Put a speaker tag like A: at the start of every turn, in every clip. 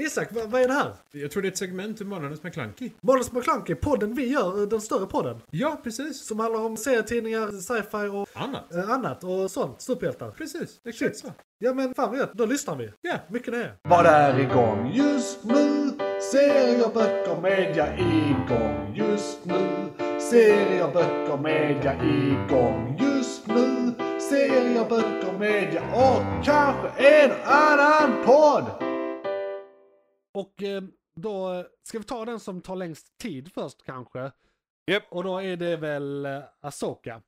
A: Isak, vad, vad är det här?
B: Jag tror det är ett segment ur Månadens McKlunky.
A: Månadens McKlunky, podden vi gör, eh, den större podden.
B: Ja, precis.
A: Som handlar om serietidningar, sci-fi och
B: Annat.
A: eh, annat och sånt. Superhjältar.
B: Precis, exakt
A: Shit.
B: så.
A: Ja men fan vad gött, då lyssnar vi.
B: Ja.
A: Mycket nöje.
C: Vad är igång just nu? Serier, böcker, media igång just nu. Serier, böcker, media igång just nu. Serier, böcker, media och kanske en annan podd.
A: Och eh, då eh, ska vi ta den som tar längst tid först kanske.
D: Japp.
A: Och då är det väl eh, Asoka.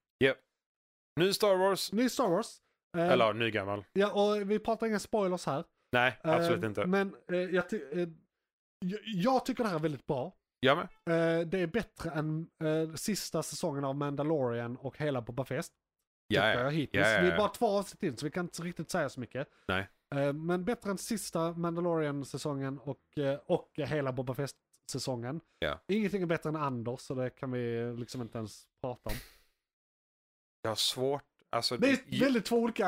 D: Ny Star Wars.
A: Ny Star Wars. Eh,
D: Eller ny gammal.
A: Ja, och vi pratar inga spoilers här.
D: Nej,
A: Eh,
D: absolut
C: Ehm,
D: inte.
A: Men eh, jag, ty- eh, jag, jag tycker det här är väldigt bra.
D: Jag med.
A: Eh, det är bättre än eh, sista säsongen av Mandalorian och hela Boba Fest.
D: Ja,
A: tycker
D: ja.
A: jag hittills.
D: Ja, ja,
A: Vi
D: ja.
A: är bara två avsnitt in så vi kan inte riktigt säga så mycket.
D: Nej.
A: Eh, Men bättre än sista Mandalorian-säsongen och, eh, och hela Boba Fest-säsongen.
D: Ja.
A: Ingenting är bättre än Anders så det kan vi liksom inte ens prata om.
D: Jag har svårt. Alltså,
A: Det
D: ju-
A: är väldigt två olika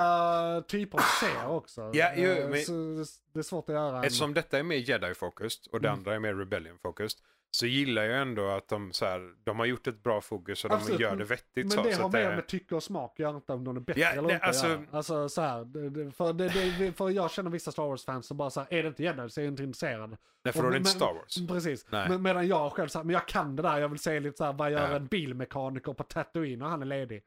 A: typer av serier också.
D: Ah. Ja, jo,
A: Eh,
D: men-
A: så det- det är svårt att göra. en-
D: Eftersom detta är mer jedi-fokust och det
A: Mm.
D: andra är mer rebellion-fokust så gillar jag ändå att de, så här, de har gjort ett bra fokus och
A: Absolut,
D: de gör
A: men-
D: det vettigt.
A: Men
D: så,
A: det
D: så
A: har
D: att det-
A: mer med tycke och smak att göra, inte om någon är bättre
D: Ja,
A: eller
D: nej,
A: inte.
D: alltså-
A: Alltså, alltså så här, det, det, för, det, det, för jag känner vissa Star Wars-fans som bara så här, är det inte Jedi så är jag inte intresserad.
D: Nej, för då är det inte
A: Men- mm,
D: Star Wars.
A: Precis,
D: Nej.
A: men, medan jag själv så här, men jag kan det där, jag vill se lite så här, vad gör
D: Ja.
A: en bilmekaniker på Tatooine och han är ledig?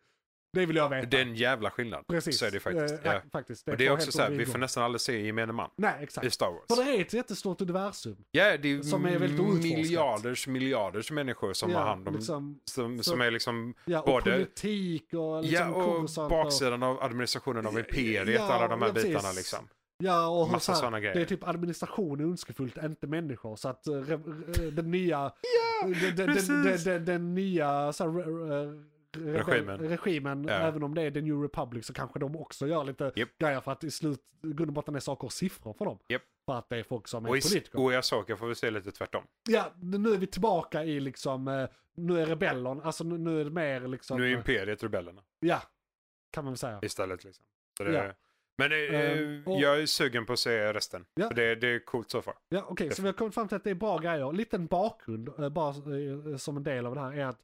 A: Det vill jag veta.
D: Det är en jävla skillnad.
A: Precis,
D: Så är det faktiskt.
A: Eh,
D: ja.
A: fa- faktiskt.
D: Och det är
A: två
D: också
A: helt
D: så här, vi
A: olika
D: får
A: ingångar.
D: nästan aldrig se gemene man
A: Nej,
D: i
A: exakt.
D: Star Wars.
A: För det är ett jättestort universum.
D: Ja, det är
A: Som är väldigt outforskat.
D: miljarders, miljarders människor som
A: Ja,
D: har hand om,
A: liksom,
D: som,
A: så-
D: som är liksom
A: ja, och
D: både-
A: politik och liksom
D: ja, och
A: Coruscant
D: baksidan av administrationen av imperiet,
A: Ja,
D: alla de här
A: ja, precis.
D: bitarna liksom.
A: Ja, och hur
D: Massa
A: så här,
D: såna grejer.
A: Det är typ administration är ondskefullt, inte människor. Så att eh, re, re, den nya... eh, den, den, den, den,
D: precis.
A: den, den nya så här, re, re, re,
D: Regimen.
A: regimen
D: Ja.
A: även om det är The New Republic så kanske de också gör lite
D: Japp.
A: grejer för att i slut, i grund och botten är saker och siffror för dem.
D: Japp.
A: För att det är folk som är
D: Och i,
A: politiker.
D: och i Asoka får vi se lite tvärtom.
A: Ja, nu är vi tillbaka i liksom, eh, nu är rebellerna, alltså nu, nu är det mer liksom...
D: Nu är
A: eh,
D: imperiet rebellerna
A: ja, kan man väl säga.
D: istället liksom. Så det,
A: Ja.
D: Men eh,
A: Ehm, och-
D: jag är sugen på att se resten.
A: Ja.
D: För det, det är coolt så far.
A: Ja, okej, så vi har kommit fram till att det är bra grejer. Liten bakgrund, eh, bara eh, som en del av det här, är att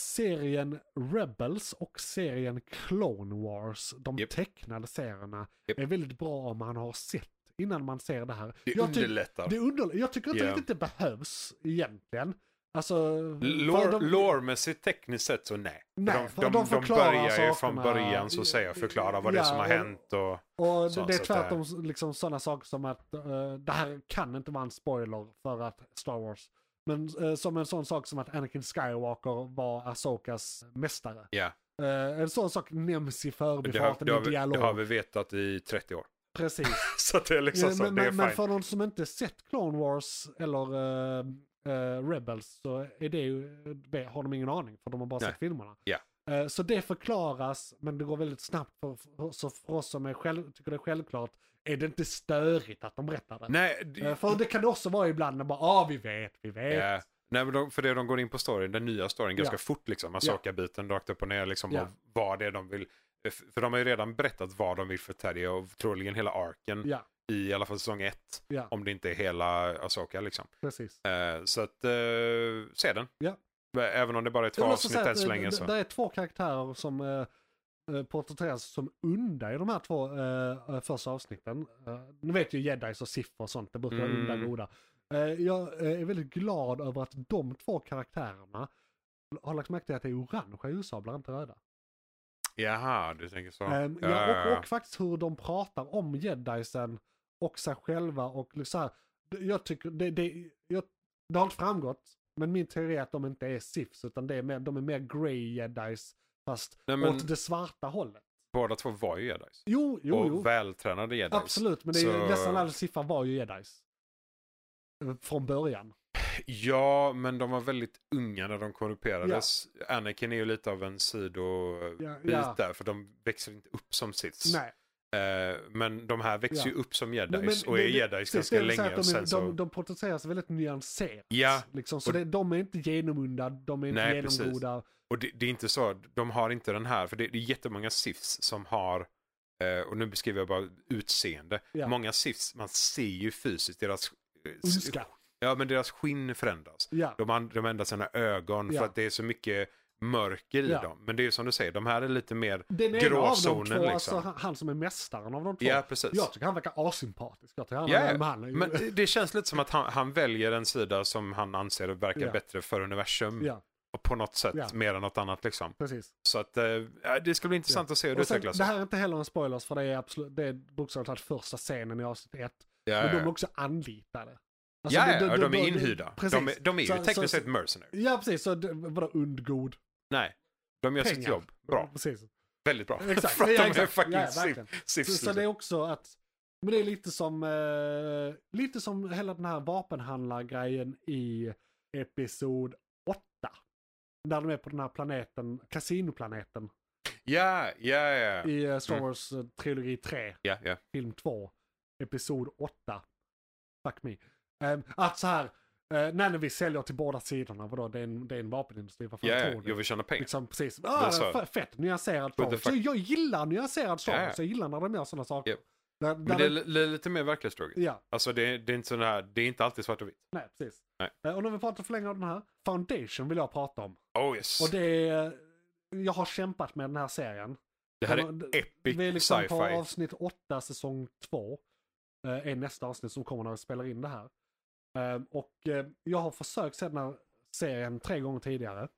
A: serien Rebels och serien Clone Wars, de
D: Japp.
A: tecknade serierna,
D: Japp.
A: är väldigt bra om man har sett innan man ser det här.
D: Det
A: jag, ty-
D: underlättar.
A: det under, jag tycker inte
D: Ja.
A: riktigt det behövs egentligen. Alltså,
D: Lore-
A: för de-
D: Loremässigt tekniskt sett så nej. För
A: Nej, för de
D: de, de, de
A: förklarar
D: börjar ju från
A: sakerna.
D: början så att säga förklara vad det är
A: Ja,
D: som har
A: och-
D: hänt och...
A: Och
D: Så-
A: det är
D: så att eh, det-
A: tvärtom liksom sådana saker som att eh, det här kan inte vara en spoiler för att Star Wars. Men eh, som en sån sak som att Anakin Skywalker var Asokas mästare.
D: Ja,
A: Eh, en sån sak nämns i
D: det har,
A: förbifarten
D: det, har
A: i
D: vi, det har
A: dialog.
D: vi vetat i 30 år.
A: Precis.
D: Så att det är liksom
A: Eh,
D: så,
A: men,
D: det är
A: men, men
D: fine.
A: för någon som inte sett Clone Wars eller eh, eh, Rebels så är det ju, det har de ingen aning för de har bara
D: Nej.
A: sett filmerna.
D: Ja.
A: Eh, Så det förklaras, men det går väldigt snabbt. För, för, så för oss som är själv, tycker det är självklart är det inte störigt att de berättar det.
D: Nej, d-
A: Eh, För det kan det också vara ibland när man bara, ah vi vet, vi vet.
D: ja. eh, Nej, men de, för det de går in på storyn, den nya storyn, ganska
A: Ja.
D: fort liksom. Asoka-biten rakt upp och ner liksom.
A: Ja.
D: Och vad det är de vill. eh, f- För de har ju redan berättat vad de vill för Teddy och troligen hela arken
A: Ja,
D: i, i alla fall säsong ett.
A: ja,
D: Om det inte är hela Asoka liksom.
A: precis.
D: Eh, så att, eh, se den. Eh,
A: Ja.
D: Även om det bara är två
A: Jag vill också
D: avsnitt
A: säga
D: än
A: att,
D: så
A: eh,
D: länge
A: d-
D: så.
A: Där är två karaktärer som eh, eh, porträtteras som onda i de här två eh, eh, första avsnitten. Eh, nu vet ju jedis och siffror och sånt, det brukar vara
D: Mm.
A: onda goda. Eh, jag eh, är väldigt glad över att de två karaktärerna har lagt märke till att det är orangea ljussablar, inte röda.
D: Jaha, du tänker så.
A: Ehm,
D: Ja,
A: ja,
D: ja,
A: och,
D: ja.
A: och faktiskt hur de pratar om jedisen och sig själva och så här, det- jag tycker, det, det, jag, det har inte framgått, men min teori är att de inte är sifs utan det är mer, de är mer grey jedis fast
D: Nej, men-
A: åt det svarta hållet.
D: Båda två var ju jedis.
A: Jo, jo,
D: och
A: jo.
D: vältränade jedis.
A: Absolut, men det är ju,
D: Så-
A: nästan alla siffror var ju jedis. Eh, Från början.
D: Ja, men de var väldigt unga när de korrumperades. Anakin är ju lite av en sidobit
A: Ja, ja.
D: där, för de växer inte upp som sits. Eh,
A: Nej.
D: men de här växer
A: Ja.
D: ju upp som jedis
A: Men- men
D: och är
A: det- det-
D: jedis
A: precis, det
D: ganska
A: jag vill säga
D: länge. och
A: att De, är-
D: sen så...
A: de, de porträtteras väldigt nyanserat.
D: Ja,
A: Liksom, så
D: och-
A: det, de är inte genomunda, de är inte
D: Nej, precis.
A: genomgoda.
D: Och det, det är inte så, de har inte den här, för det, det är jättemånga SIFs som har, eh, och nu beskriver jag bara utseende,
A: Ja.
D: många SIFs, man ser ju fysiskt deras eh,
A: ondska.
D: Ja, men deras skinn förändras.
A: Ja,
D: De, an- de ändrar sina ögon
A: Ja.
D: för att det är så mycket mörker i
A: Ja.
D: dem. Men det är ju som du säger, de här är lite mer...
A: den ena av de
D: gråzonen,
A: två,
D: liksom.
A: alltså, han- han som är mästaren av de två.
D: Ja, precis.
A: Jag tycker han verkar asympatisk. Jag tycker han,
D: Ja, ja.
A: men han är ju...
D: Men det- det känns lite som att han, han väljer en sida som han anser verkar
A: Ja.
D: bättre för universum.
A: ja,
D: Och på något sätt
A: Ja.
D: mer än något annat liksom.
A: precis.
D: Så att eh, ja, det ska bli intressant att se hur det
A: Och sen,
D: utvecklas.
A: det här är inte heller en spoilers för det är, absolut, det är bokstavligt talat första scenen i avsnitt ett.
D: ja,
A: Men de
D: ja.
A: är också anlitade. Alltså,
D: ja,
A: det-
D: ja,
A: det-
D: ja,
A: det-
D: de är
A: det-
D: inhyrda.
A: Precis.
D: De, är- de är ju
A: Så- så-
D: tekniskt
A: så-
D: sett mercenary.
A: Ja, precis. Så det- vadå undgod?
D: Nej, de gör sitt
A: Pengar.
D: jobb. Bra,
A: Precis.
D: väldigt bra.
A: Exakt.
D: För att
A: Ja,
D: de är
A: exakt.
D: fucking
A: Ja,
D: sif-
A: verkligen. Så, så
D: sif-
A: det är också att, men det är lite som, eh, lite som hela den här vapenhandlargrejen i episod 8. Där de är på den här planeten, kasinoplaneten,
D: Ja, ja, ja.
A: i eh, Star
D: Mm.
A: Wars eh, trilogi 3,
D: Ja, ja.
A: film 2, episod 8. Fuck me. Ehm, att så här, eh, nej, när vi säljer till båda sidorna, vadå, det är en, det är en vapenindustri, vad fan
D: Ja,
A: tror
D: ja.
A: ni?
D: Jag vill tjäna pengar.
A: Liksom precis,
D: är så.
A: ah, f- fett nyanserad
D: What the
A: sång. Så
D: fuck?
A: jag gillar nyanserad sång,
D: Ja, ja.
A: så jag gillar när de gör sådana saker.
D: Japp.
A: Där,
D: Men
A: där
D: det är
A: det-
D: li- li- lite mer verklighetstroget.
A: Ja,
D: Alltså det, det, är inte sån här, det är inte alltid svart och vitt.
A: nej precis.
D: Nej.
A: Eh, Och när vi pratar för länge om den här, Foundation vill jag prata om.
D: Oh yes.
A: Och
D: det,
A: det är, eh, jag har kämpat med den här serien.
D: här är
A: Den-
D: epic
A: Vi är liksom på
D: sci-fi.
A: avsnitt 8, säsong 2. eh, Är nästa avsnitt som kommer när vi spelar in det här. Eh, Och eh, jag har försökt se den här serien tre gånger tidigare.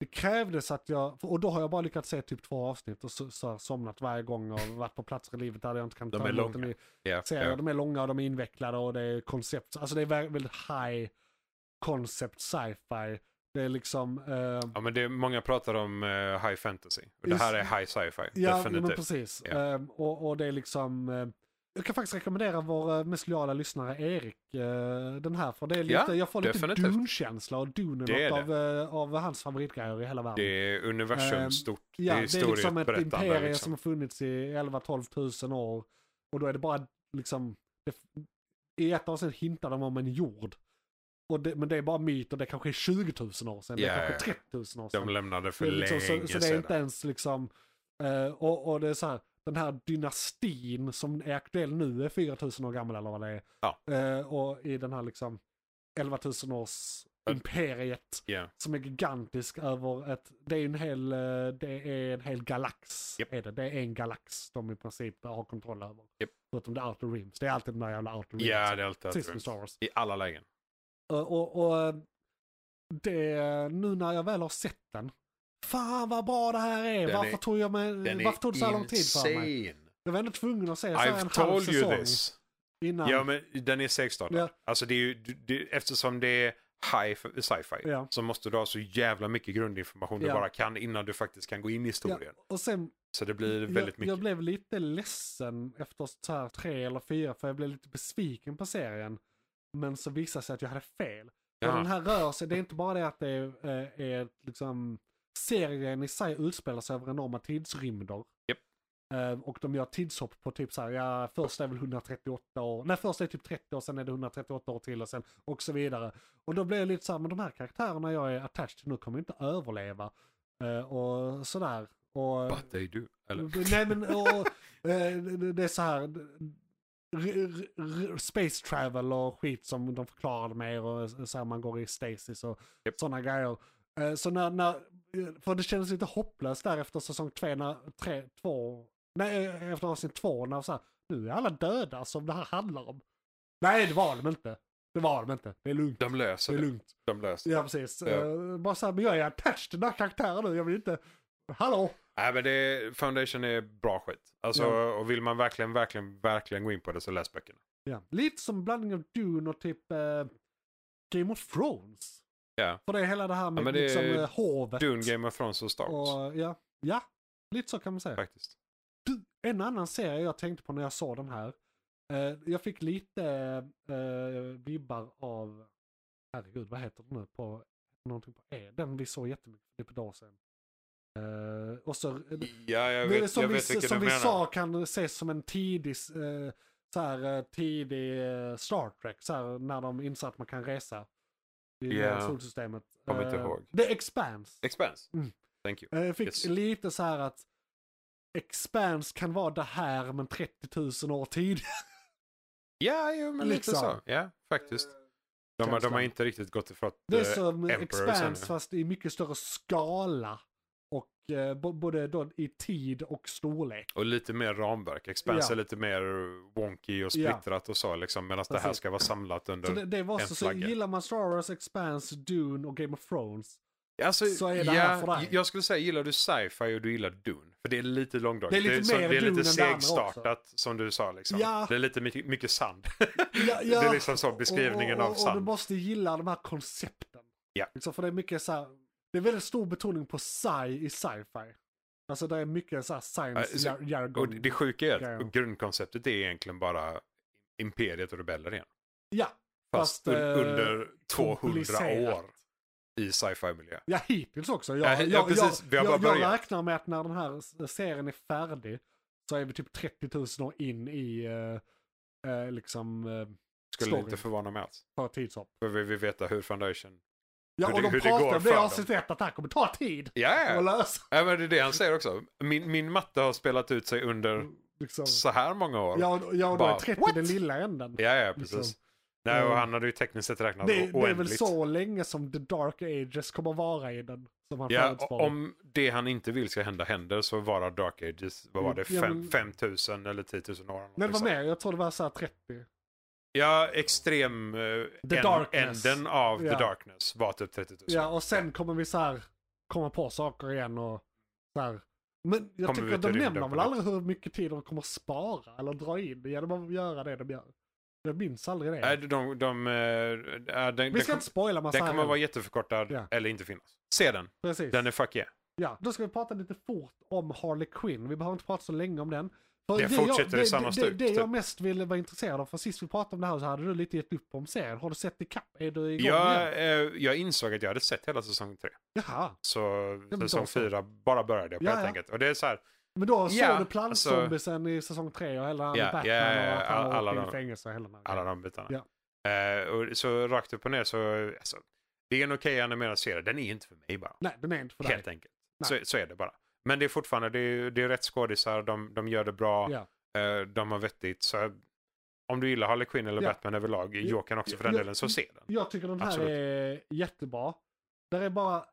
A: Det krävdes att jag, och då har jag bara lyckats se typ två avsnitt och så, så har jag somnat varje gång och varit på platser i livet där jag inte kan
D: De
A: ta
D: är
A: emot
D: långa.
A: den i
D: Ja,
A: serier.
D: ja.
A: De är långa och de är invecklade och det är koncept, alltså det är vä- väldigt high concept sci-fi. Det är liksom... eh,
D: ja, men det är, många pratar om eh, high fantasy. Och det
A: Just-
D: här är high sci-fi.
A: Ja, jo, men
D: definitivt.
A: precis.
D: Ja.
A: Ehm, och, och det är liksom... eh, jag kan faktiskt rekommendera vår eh, mest lojala lyssnare Erik eh, den här. För det är lite,
D: Ja,
A: jag får lite
D: definitivt.
A: Dune-känsla och Dune
D: Det
A: är
D: är
A: något av, eh, av hans favoritgrejer i hela världen.
D: Det är universum
A: Ehm,
D: stort.
A: ja, det
D: det är
A: är liksom ett
D: historieberättande,
A: imperium
D: liksom.
A: som har funnits i 11-12 000 år. Och då är det bara liksom... Det, I ett avsnitt hintar de om en jord. Och det, men det är bara myter, det kanske är 20 000 år sedan,
D: Ja,
A: det är
D: ja.
A: kanske 30 000 år sedan.
D: De lämnade för
A: Det är liksom,
D: länge
A: så, så det är
D: sedan.
A: inte ens liksom, eh, och, och det är så här, den här dynastin som är aktuell nu är 4000 år gammal eller vad det är.
D: Ja.
A: Eh, och i den här liksom 11 000 års
D: Ja.
A: imperiet
D: Ja.
A: som är gigantisk över ett, det är en hel, eh, det är en hel galax.
D: Japp.
A: Är det. det är en galax de i princip har kontroll över.
D: Japp.
A: Förutom the outer rims, det är alltid de där jävla outer rims.
D: Ja, det är alltid
A: Precis som
D: att-
A: Star Wars.
D: I alla lägen.
A: Eh, Och, och, och det, nu när jag väl har sett den, fan vad bra det här är!
D: Den
A: varför
D: är-
A: tog jag mig,
D: Den
A: varför tog det så här lång tid för mig? Jag var ändå tvungen att se så här en
D: I've
A: halv
D: told you
A: säsong
D: this.
A: innan.
D: Ja, men den är segstartad.
A: Ja.
D: Alltså det är ju, det, eftersom det är high f- sci-fi
A: Ja.
D: så måste du ha så jävla mycket grundinformation
A: Ja.
D: du bara kan innan du faktiskt kan gå in i historien.
A: Ja, och sen,
D: Så det blir
A: jag,
D: väldigt mycket.
A: jag blev lite ledsen efter så här tre eller fyra, för jag blev lite besviken på serien. Men så visade det sig att jag hade fel. För
D: Jaha.
A: den här rör sig, det är inte bara det att det är, eh, är liksom, serien i sig utspelar sig över enorma tidsrymder.
D: Japp.
A: Eh, Och de gör tidshopp på typ så här, ja först är väl 138 år, nej först är det typ 30 år, sen är det 138 år till och sen och så vidare. Och då blir jag lite så här, men de här karaktärerna jag är attached till nu kommer inte överleva. Eh, Och sådär. Och,
D: But they do. Eller?
A: Nej men och, eh, det det är så här. r- r- r- Space travel och skit som de förklarade mer och så här man går i stasis och
D: Japp.
A: sådana grejer. Eh, Så när, när, eh, för det kändes lite hopplöst där efter säsong två, när, tre, två, nej eh, efter avsnitt två när så här, nu är alla döda som det här handlar om. Nej det var de inte. Det var de inte. Det är lugnt.
D: De
A: Det
D: löser
A: är
D: det.
A: lugnt.
D: De löser det.
A: Ja precis.
D: Ja.
A: Eh, Bara så här, men jag är attached till den här karaktären nu, jag vill inte, hallå!
D: Nej, men det, Foundation är bra skit. Alltså,
A: Ja.
D: och vill man verkligen, verkligen, verkligen gå in på det så läs böckerna.
A: Ja. Lite som blandning av Dune och typ eh, Game of Thrones.
D: Ja.
A: För det är hela det här med
D: men det är
A: liksom, eh, hovet.
D: Dune, Game of Thrones och Star Wars.
A: och, ja. ja, lite så kan man säga.
D: Faktiskt.
A: Du, en annan serie jag tänkte på när jag såg den här. Eh, jag fick lite eh, vibbar av, herregud vad heter den nu på, någonting på E. Den vi såg jättemycket för typ ett år sedan. Eh, och så,
D: Ja, jag
A: det är
D: vet,
A: som
D: jag
A: vi,
D: vet vilken
A: som
D: du
A: vi
D: menar.
A: sa kan ses som en tidig, eh, så här, eh, tidig eh, Star Trek, så här, när de inser att man kan resa i
D: Ja.
A: yeah. solsystemet.
D: Kommer inte
A: Eh,
D: ihåg.
A: The Expanse.
D: Expanse.
A: Mm.
D: Thank you.
A: Eh, Jag fick
D: Yes.
A: lite så här att Expanse kan vara det här men 30 000 år tidigare.
D: Ja, jo, men lite
A: Liksom.
D: så. Ja, faktiskt. De, har- de har
A: Känslan.
D: inte riktigt gått ifrån
A: Det är
D: eh,
A: som
D: Emperor sen,
A: Expanse
D: ja.
A: fast i mycket större skala. Och eh, bo- både då i tid och storlek.
D: Och lite mer ramverk. Expanse
A: Ja.
D: är lite mer wonky och splittrat och så liksom. Medan det här
A: Precis.
D: ska vara samlat
A: Så
D: under...
A: det, det var
D: en
A: så, så
D: flagga.
A: gillar man Star Wars, Expanse, Dune och Game of Thrones.
D: alltså,
A: så är det
D: ja,
A: här för dig.
D: Jag skulle säga, gillar du sci-fi och du gillar Dune? För det är lite långdraget.
A: Det är lite
D: så-
A: mer
D: det är
A: Dune än
D: lite
A: det andra också.
D: segstartat som du sa liksom.
A: Ja.
D: Det är lite mycket, mycket sand.
A: Ja,
D: Det
A: ja.
D: är liksom så beskrivningen
A: och, och,
D: av
A: och, och du
D: sand.
A: måste gilla de här koncepten.
D: Ja.
A: Liksom, för det är mycket så här, det är väldigt stor betoning på sci i sci-fi. Alltså det är mycket så här
D: Ja, så-
A: science jar- jargon.
D: Och det det sjuka är att
A: Ja, ja.
D: grundkonceptet är egentligen bara imperiet och rebeller igen.
A: ja,
D: Fast,
A: Fast,
D: un-
A: eh,
D: under 200
A: komplicerat.
D: år i sci-fi miljö.
A: ja, hittills också.
D: Ja,
A: Jag,
D: he- ja,
A: jag,
D: precis. Vi har
A: jag, jag,
D: bara
A: jag
D: börjat.
A: räknar med att när den här s- serien är färdig så är vi typ 30 000 år in i eh, eh, liksom eh,
D: Skulle
A: Story.
D: inte förvåna mig alls.
A: för tidshopp.
D: För vi vill veta hur Foundation...
A: Ja,
D: Hur
A: och
D: det-
A: de
D: hur det går
A: pratar om det i
D: för dem.
A: avsnitt ett att det här kommer ta tid
D: Ja, ja.
A: att lösa.
D: Ja, men det är det han säger också. Min, min matte har spelat ut sig under
A: Liksom.
D: så här många år.
A: Ja, och- ja, och då är
D: Bara,
A: 30
D: what?
A: den lilla änden.
D: ja, ja precis.
A: Liksom.
D: Nej, och
A: Mm.
D: han hade ju tekniskt sett räknat
A: det, det är väl
D: oändligt.
A: så länge som The Dark Ages kommer vara i den. Som han
D: Ja,
A: förutspår.
D: om det han inte vill ska hända händer så varar Dark Ages, vad var det,
A: Ja, men-
D: 5000 eller 10 000 år?
A: Nej, det var
D: Liksom.
A: mer. Jag tror det var så här 30.
D: Ja, extrem... eh,
A: The
D: en-
A: Darkness.
D: Änden av
A: Ja.
D: The Darkness var typ 30 000.
A: Ja, och sen kommer vi så här komma på saker igen och så här. Men jag
D: Kommer vi
A: tycker att
D: till
A: de
D: rymden
A: nämner
D: på
A: väl
D: något
A: aldrig hur mycket tid de kommer spara eller dra in genom att göra det de gör. Jag minns aldrig det.
D: Nej, de... de, de, eh, ja, den,
A: vi
D: den,
A: ska
D: kom,
A: inte spoila massa
D: den kommer
A: här.
D: vara jätteförkortad
A: Ja.
D: eller inte finnas. Se den.
A: Precis.
D: Den är fuck yeah.
A: Ja, då ska vi prata lite fort om Harley Quinn. Vi behöver inte prata så länge om den. För
D: Det fortsätter i
A: det,
D: samma
A: det,
D: stuk,
A: Det, det jag
D: typ.
A: mest ville vara intresserad av, för sist vi pratade om det här så hade du lite gett upp om serien. Har du sett ikapp? Är du igång
D: Jag,
A: igen?
D: eh, jag insåg att jag hade sett hela säsong tre.
A: Jaha.
D: Så
A: men
D: säsong
A: då så.
D: fyra bara började jag på
A: Ja,
D: helt
A: ja.
D: enkelt. Och det är så här,
A: Men då
D: Ja, alltså-
A: såg du plantzombisen i säsong tre och hela
D: Ja,
A: yeah, Batman
D: ja, ja,
A: och att han
D: alla-
A: alla,
D: alla
A: åkte
D: de-
A: i fängelse och hela den här
D: alla
A: grejen.
D: de bitarna.
A: Ja.
D: Eh, och så rakt upp och ner så, alltså, det är en okej animerad serie. Den är inte för mig bara.
A: Nej, den är inte för dig.
D: Helt enkelt. Så, så är det bara. Men det är fortfarande, det är, det är rätt skådisar, de, de gör det bra,
A: Ja.
D: eh, de har vettigt. Så om du gillar Harley Quinn eller
A: Ja.
D: Batman överlag, Jokern också för den
A: Ja.
D: delen, så se den.
A: Jag tycker den här
D: Absolut.
A: är jättebra. Där är bara...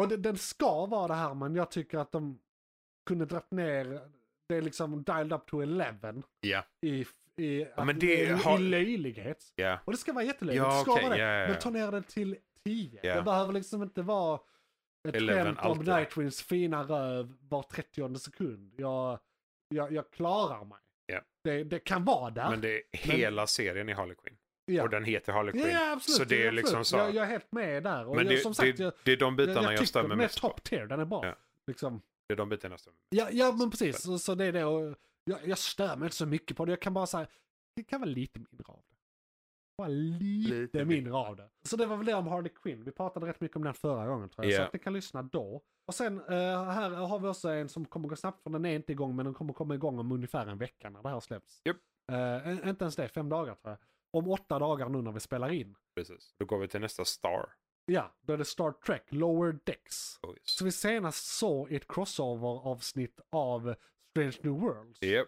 A: Och det, den ska vara det här, men jag tycker att de kunde dragit ner... Det är liksom dialed up to 11.
D: Ja.
A: I, i,
D: Ja, men
A: att-
D: det
A: i,
D: har-
A: i löjlighet.
D: Ja.
A: Och det ska vara jättelöjligt,
D: Ja,
A: det ska
D: okej,
A: vara det.
D: ja, ja, ja.
A: Men ta ner det till 10.
D: Ja.
A: Det behöver liksom inte vara ett
D: 11
A: skämt om
D: alltid.
A: Nightwings fina röv var 30 sekund. Jag, jag, jag klarar mig.
D: Ja.
A: Det, det kan vara där.
D: Men det är hela serien i Harley Quinn.
A: ja.
D: Och den heter Harley Quinn.
A: ja, absolut.
D: Så det är
A: absolut.
D: liksom så.
A: jag, jag är helt med där. Och
D: men det,
A: jag, som sagt,
D: det,
A: jag,
D: det är de
A: jag,
D: bitarna jag,
A: tycker
D: stämmer
A: den är
D: mest på.
A: top tier, den är bra.
D: Ja.
A: Liksom.
D: Det är de bitarna jag stämmer
A: Ja, ja, men precis. Så, så det är det. Och jag, jag stör mig inte så mycket på det. Jag kan bara säga, det kan vara lite mindre av det. Bara lite,
D: Lite mindre.
A: mindre av det. Så det var väl det om Harley Quinn. Vi pratade rätt mycket om den förra gången tror jag.
D: Ja.
A: Så att ni kan lyssna då. Och sen eh, här har vi också en som kommer gå snabbt för den är inte igång men den kommer komma igång om ungefär en vecka när det här släpps.
D: Japp.
A: Eh, en- inte ens det, fem dagar tror jag. Om åtta dagar nu när vi spelar in.
D: Precis. Då går vi till nästa Star.
A: Ja, då är det Star Trek, Lower Decks.
D: Oh, yes.
A: Som vi senast såg i ett crossover-avsnitt av Strange New Worlds.
D: Yep.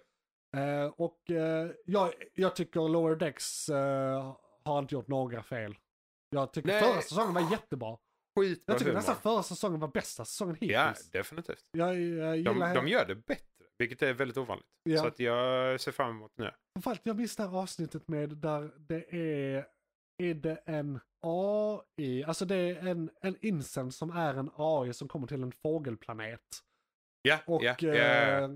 A: Eh, och eh, jag, jag tycker Lower Decks eh, har inte gjort några fel. Jag tycker
D: Nej.
A: förra säsongen var jättebra.
D: Skitbra
A: Jag tycker nästan
D: humor.
A: förra säsongen var bästa säsongen hittills.
D: Ja, definitivt.
A: Jag, jag
D: De,
A: gillar
D: de gör det bättre, vilket är väldigt ovanligt.
A: Ja.
D: Så att jag ser fram emot nu.
A: Framförallt jag minns det här avsnittet med där det är, är det en AI, alltså det är en, en incens som är en AI som kommer till en fågelplanet.
D: Ja,
A: Och
D: ja, ja.
A: eh,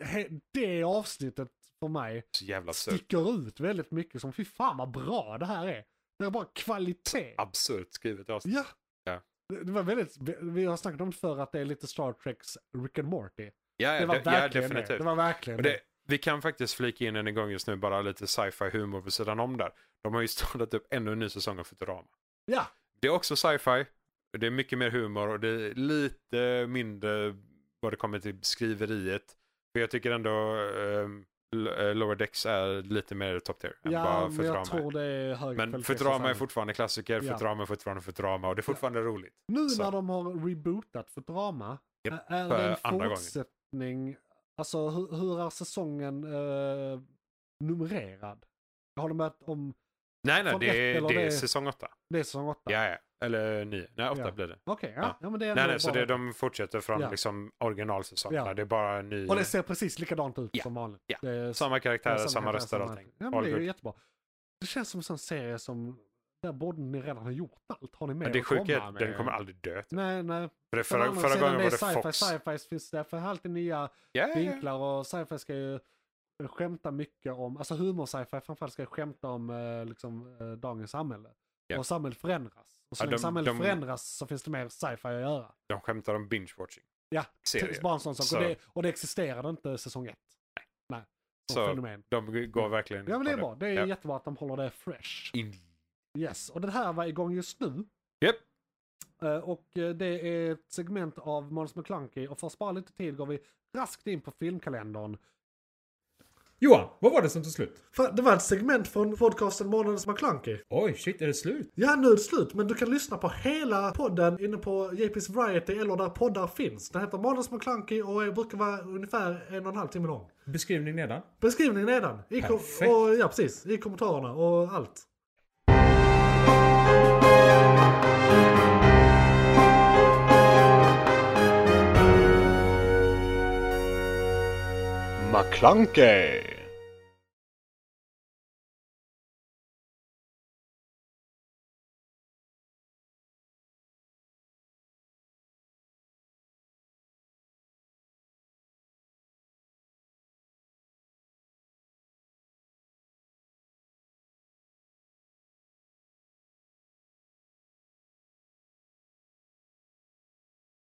A: he- det avsnittet för mig
D: Så jävla absurt.
A: sticker ut väldigt mycket som fy fan vad bra det här är. Det är bara kvalitet.
D: Absurt skrivet avsnitt.
A: Ja.
D: Ja.
A: Det det var väldigt, vi- vi har snackat om det förr att det är lite Star Treks Rick and Morty.
D: Ja, ja,
A: Det var
D: de- ja
A: verkligen
D: definitivt.
A: det. Det var verkligen
D: Och
A: det.
D: det, vi kan faktiskt flika in en gång just nu, bara lite sci-fi humor på sidan om där. De har ju startat upp ännu en ny säsong av Futurama.
A: Ja,
D: Det är också sci-fi, det är mycket mer humor och det är lite mindre vad det kommer till skriveriet. För jag tycker ändå ehm, L- eh, Lower Decks är lite mer top tier än
A: ja
D: vad
A: men
D: Futurama
A: jag
D: är.
A: tror det är hög
D: Men
A: kvalitet
D: Futurama
A: som
D: är
A: fan.
D: fortfarande klassiker,
A: Ja.
D: Futurama är fortfarande Futurama och det är fortfarande roligt.
A: Nu
D: så.
A: när de har rebootat Futurama,
D: Japp,
A: ä- är
D: för
A: det en
D: andra gången.
A: fortsättning? Alltså hur, hur är säsongen eh, numrerad? Har de börjat om
D: Nej, nej,
A: Från
D: det
A: ett
D: är,
A: eller
D: det
A: det-
D: är säsong åtta.
A: Det är säsong åtta?
D: Ja, ja. Eller nio. Nej, åtta
A: Ja.
D: blir det.
A: Okej, ja.
D: Ja.
A: ja. men det är
D: Nej,
A: ändå
D: nej, så
A: bara-
D: det, de fortsätter från
A: Ja.
D: liksom originalsäsongerna.
A: Ja.
D: Det är bara en ny...
A: Och det ser precis likadant ut
D: Ja.
A: som vanligt.
D: Ja.
A: Det är
D: Samma karaktärer,
A: Ja,
D: samma,
A: karaktär,
D: röster och
A: samma-
D: allting.
A: Ja, men
D: All
A: det är
D: good.
A: ju jättebra. Det känns som en sån serie som, där borde ni redan ha gjort allt. Har ni mer
D: Men det
A: att
D: sjuka är
A: komma
D: att
A: med?
D: den kommer aldrig dö. typ.
A: Nej, nej.
D: För det
A: Men å
D: förra,
A: andra
D: förra
A: sidan,
D: gången var det
A: är sci-fi,
D: Fox.
A: Sci-fi finns det för alltid nya
D: Ja, ja, ja.
A: vinklar och sci-fi ska ju skämta mycket om, alltså humor-sci-fi framförallt ska ju skämta om eh, liksom, eh, dagens samhälle.
D: Ja.
A: Och samhället förändras. Och så
D: Ja,
A: länge
D: de-
A: samhället
D: de-
A: förändras så finns det mer sci-fi att göra.
D: De skämtar om binge-watching.
A: Ja,
D: Serier.
A: Bara en sån sak. Och
D: Så-
A: det, och det existerade inte säsong ett. Nej. Som
D: Så-
A: fenomen.
D: De går verkligen
A: Ja men det är
D: på
A: bra. Det är
D: Ja.
A: jättebra att de håller det fresh.
D: In.
A: Yes, och den här var igång just nu.
D: Japp.
A: Eh, Och eh, det är ett segment av Måns McClunky och för att spara lite tid går vi raskt in på filmkalendern.
B: Johan, vad var det som tog slut?
A: För det var ett segment från podcasten Månadens McClunky.
B: Oj, shit, är det slut?
A: Ja, nu är det slut, men du kan lyssna på hela podden inne på JP's Variety eller där poddar finns. Den heter Månadens McClunky och är- brukar vara ungefär en och en halv timme lång.
B: Beskrivning nedan.
A: Beskrivningen nedan. I kom-
B: Perfekt.
A: och, ja, precis. I kommentarerna och allt.
C: McClunkey.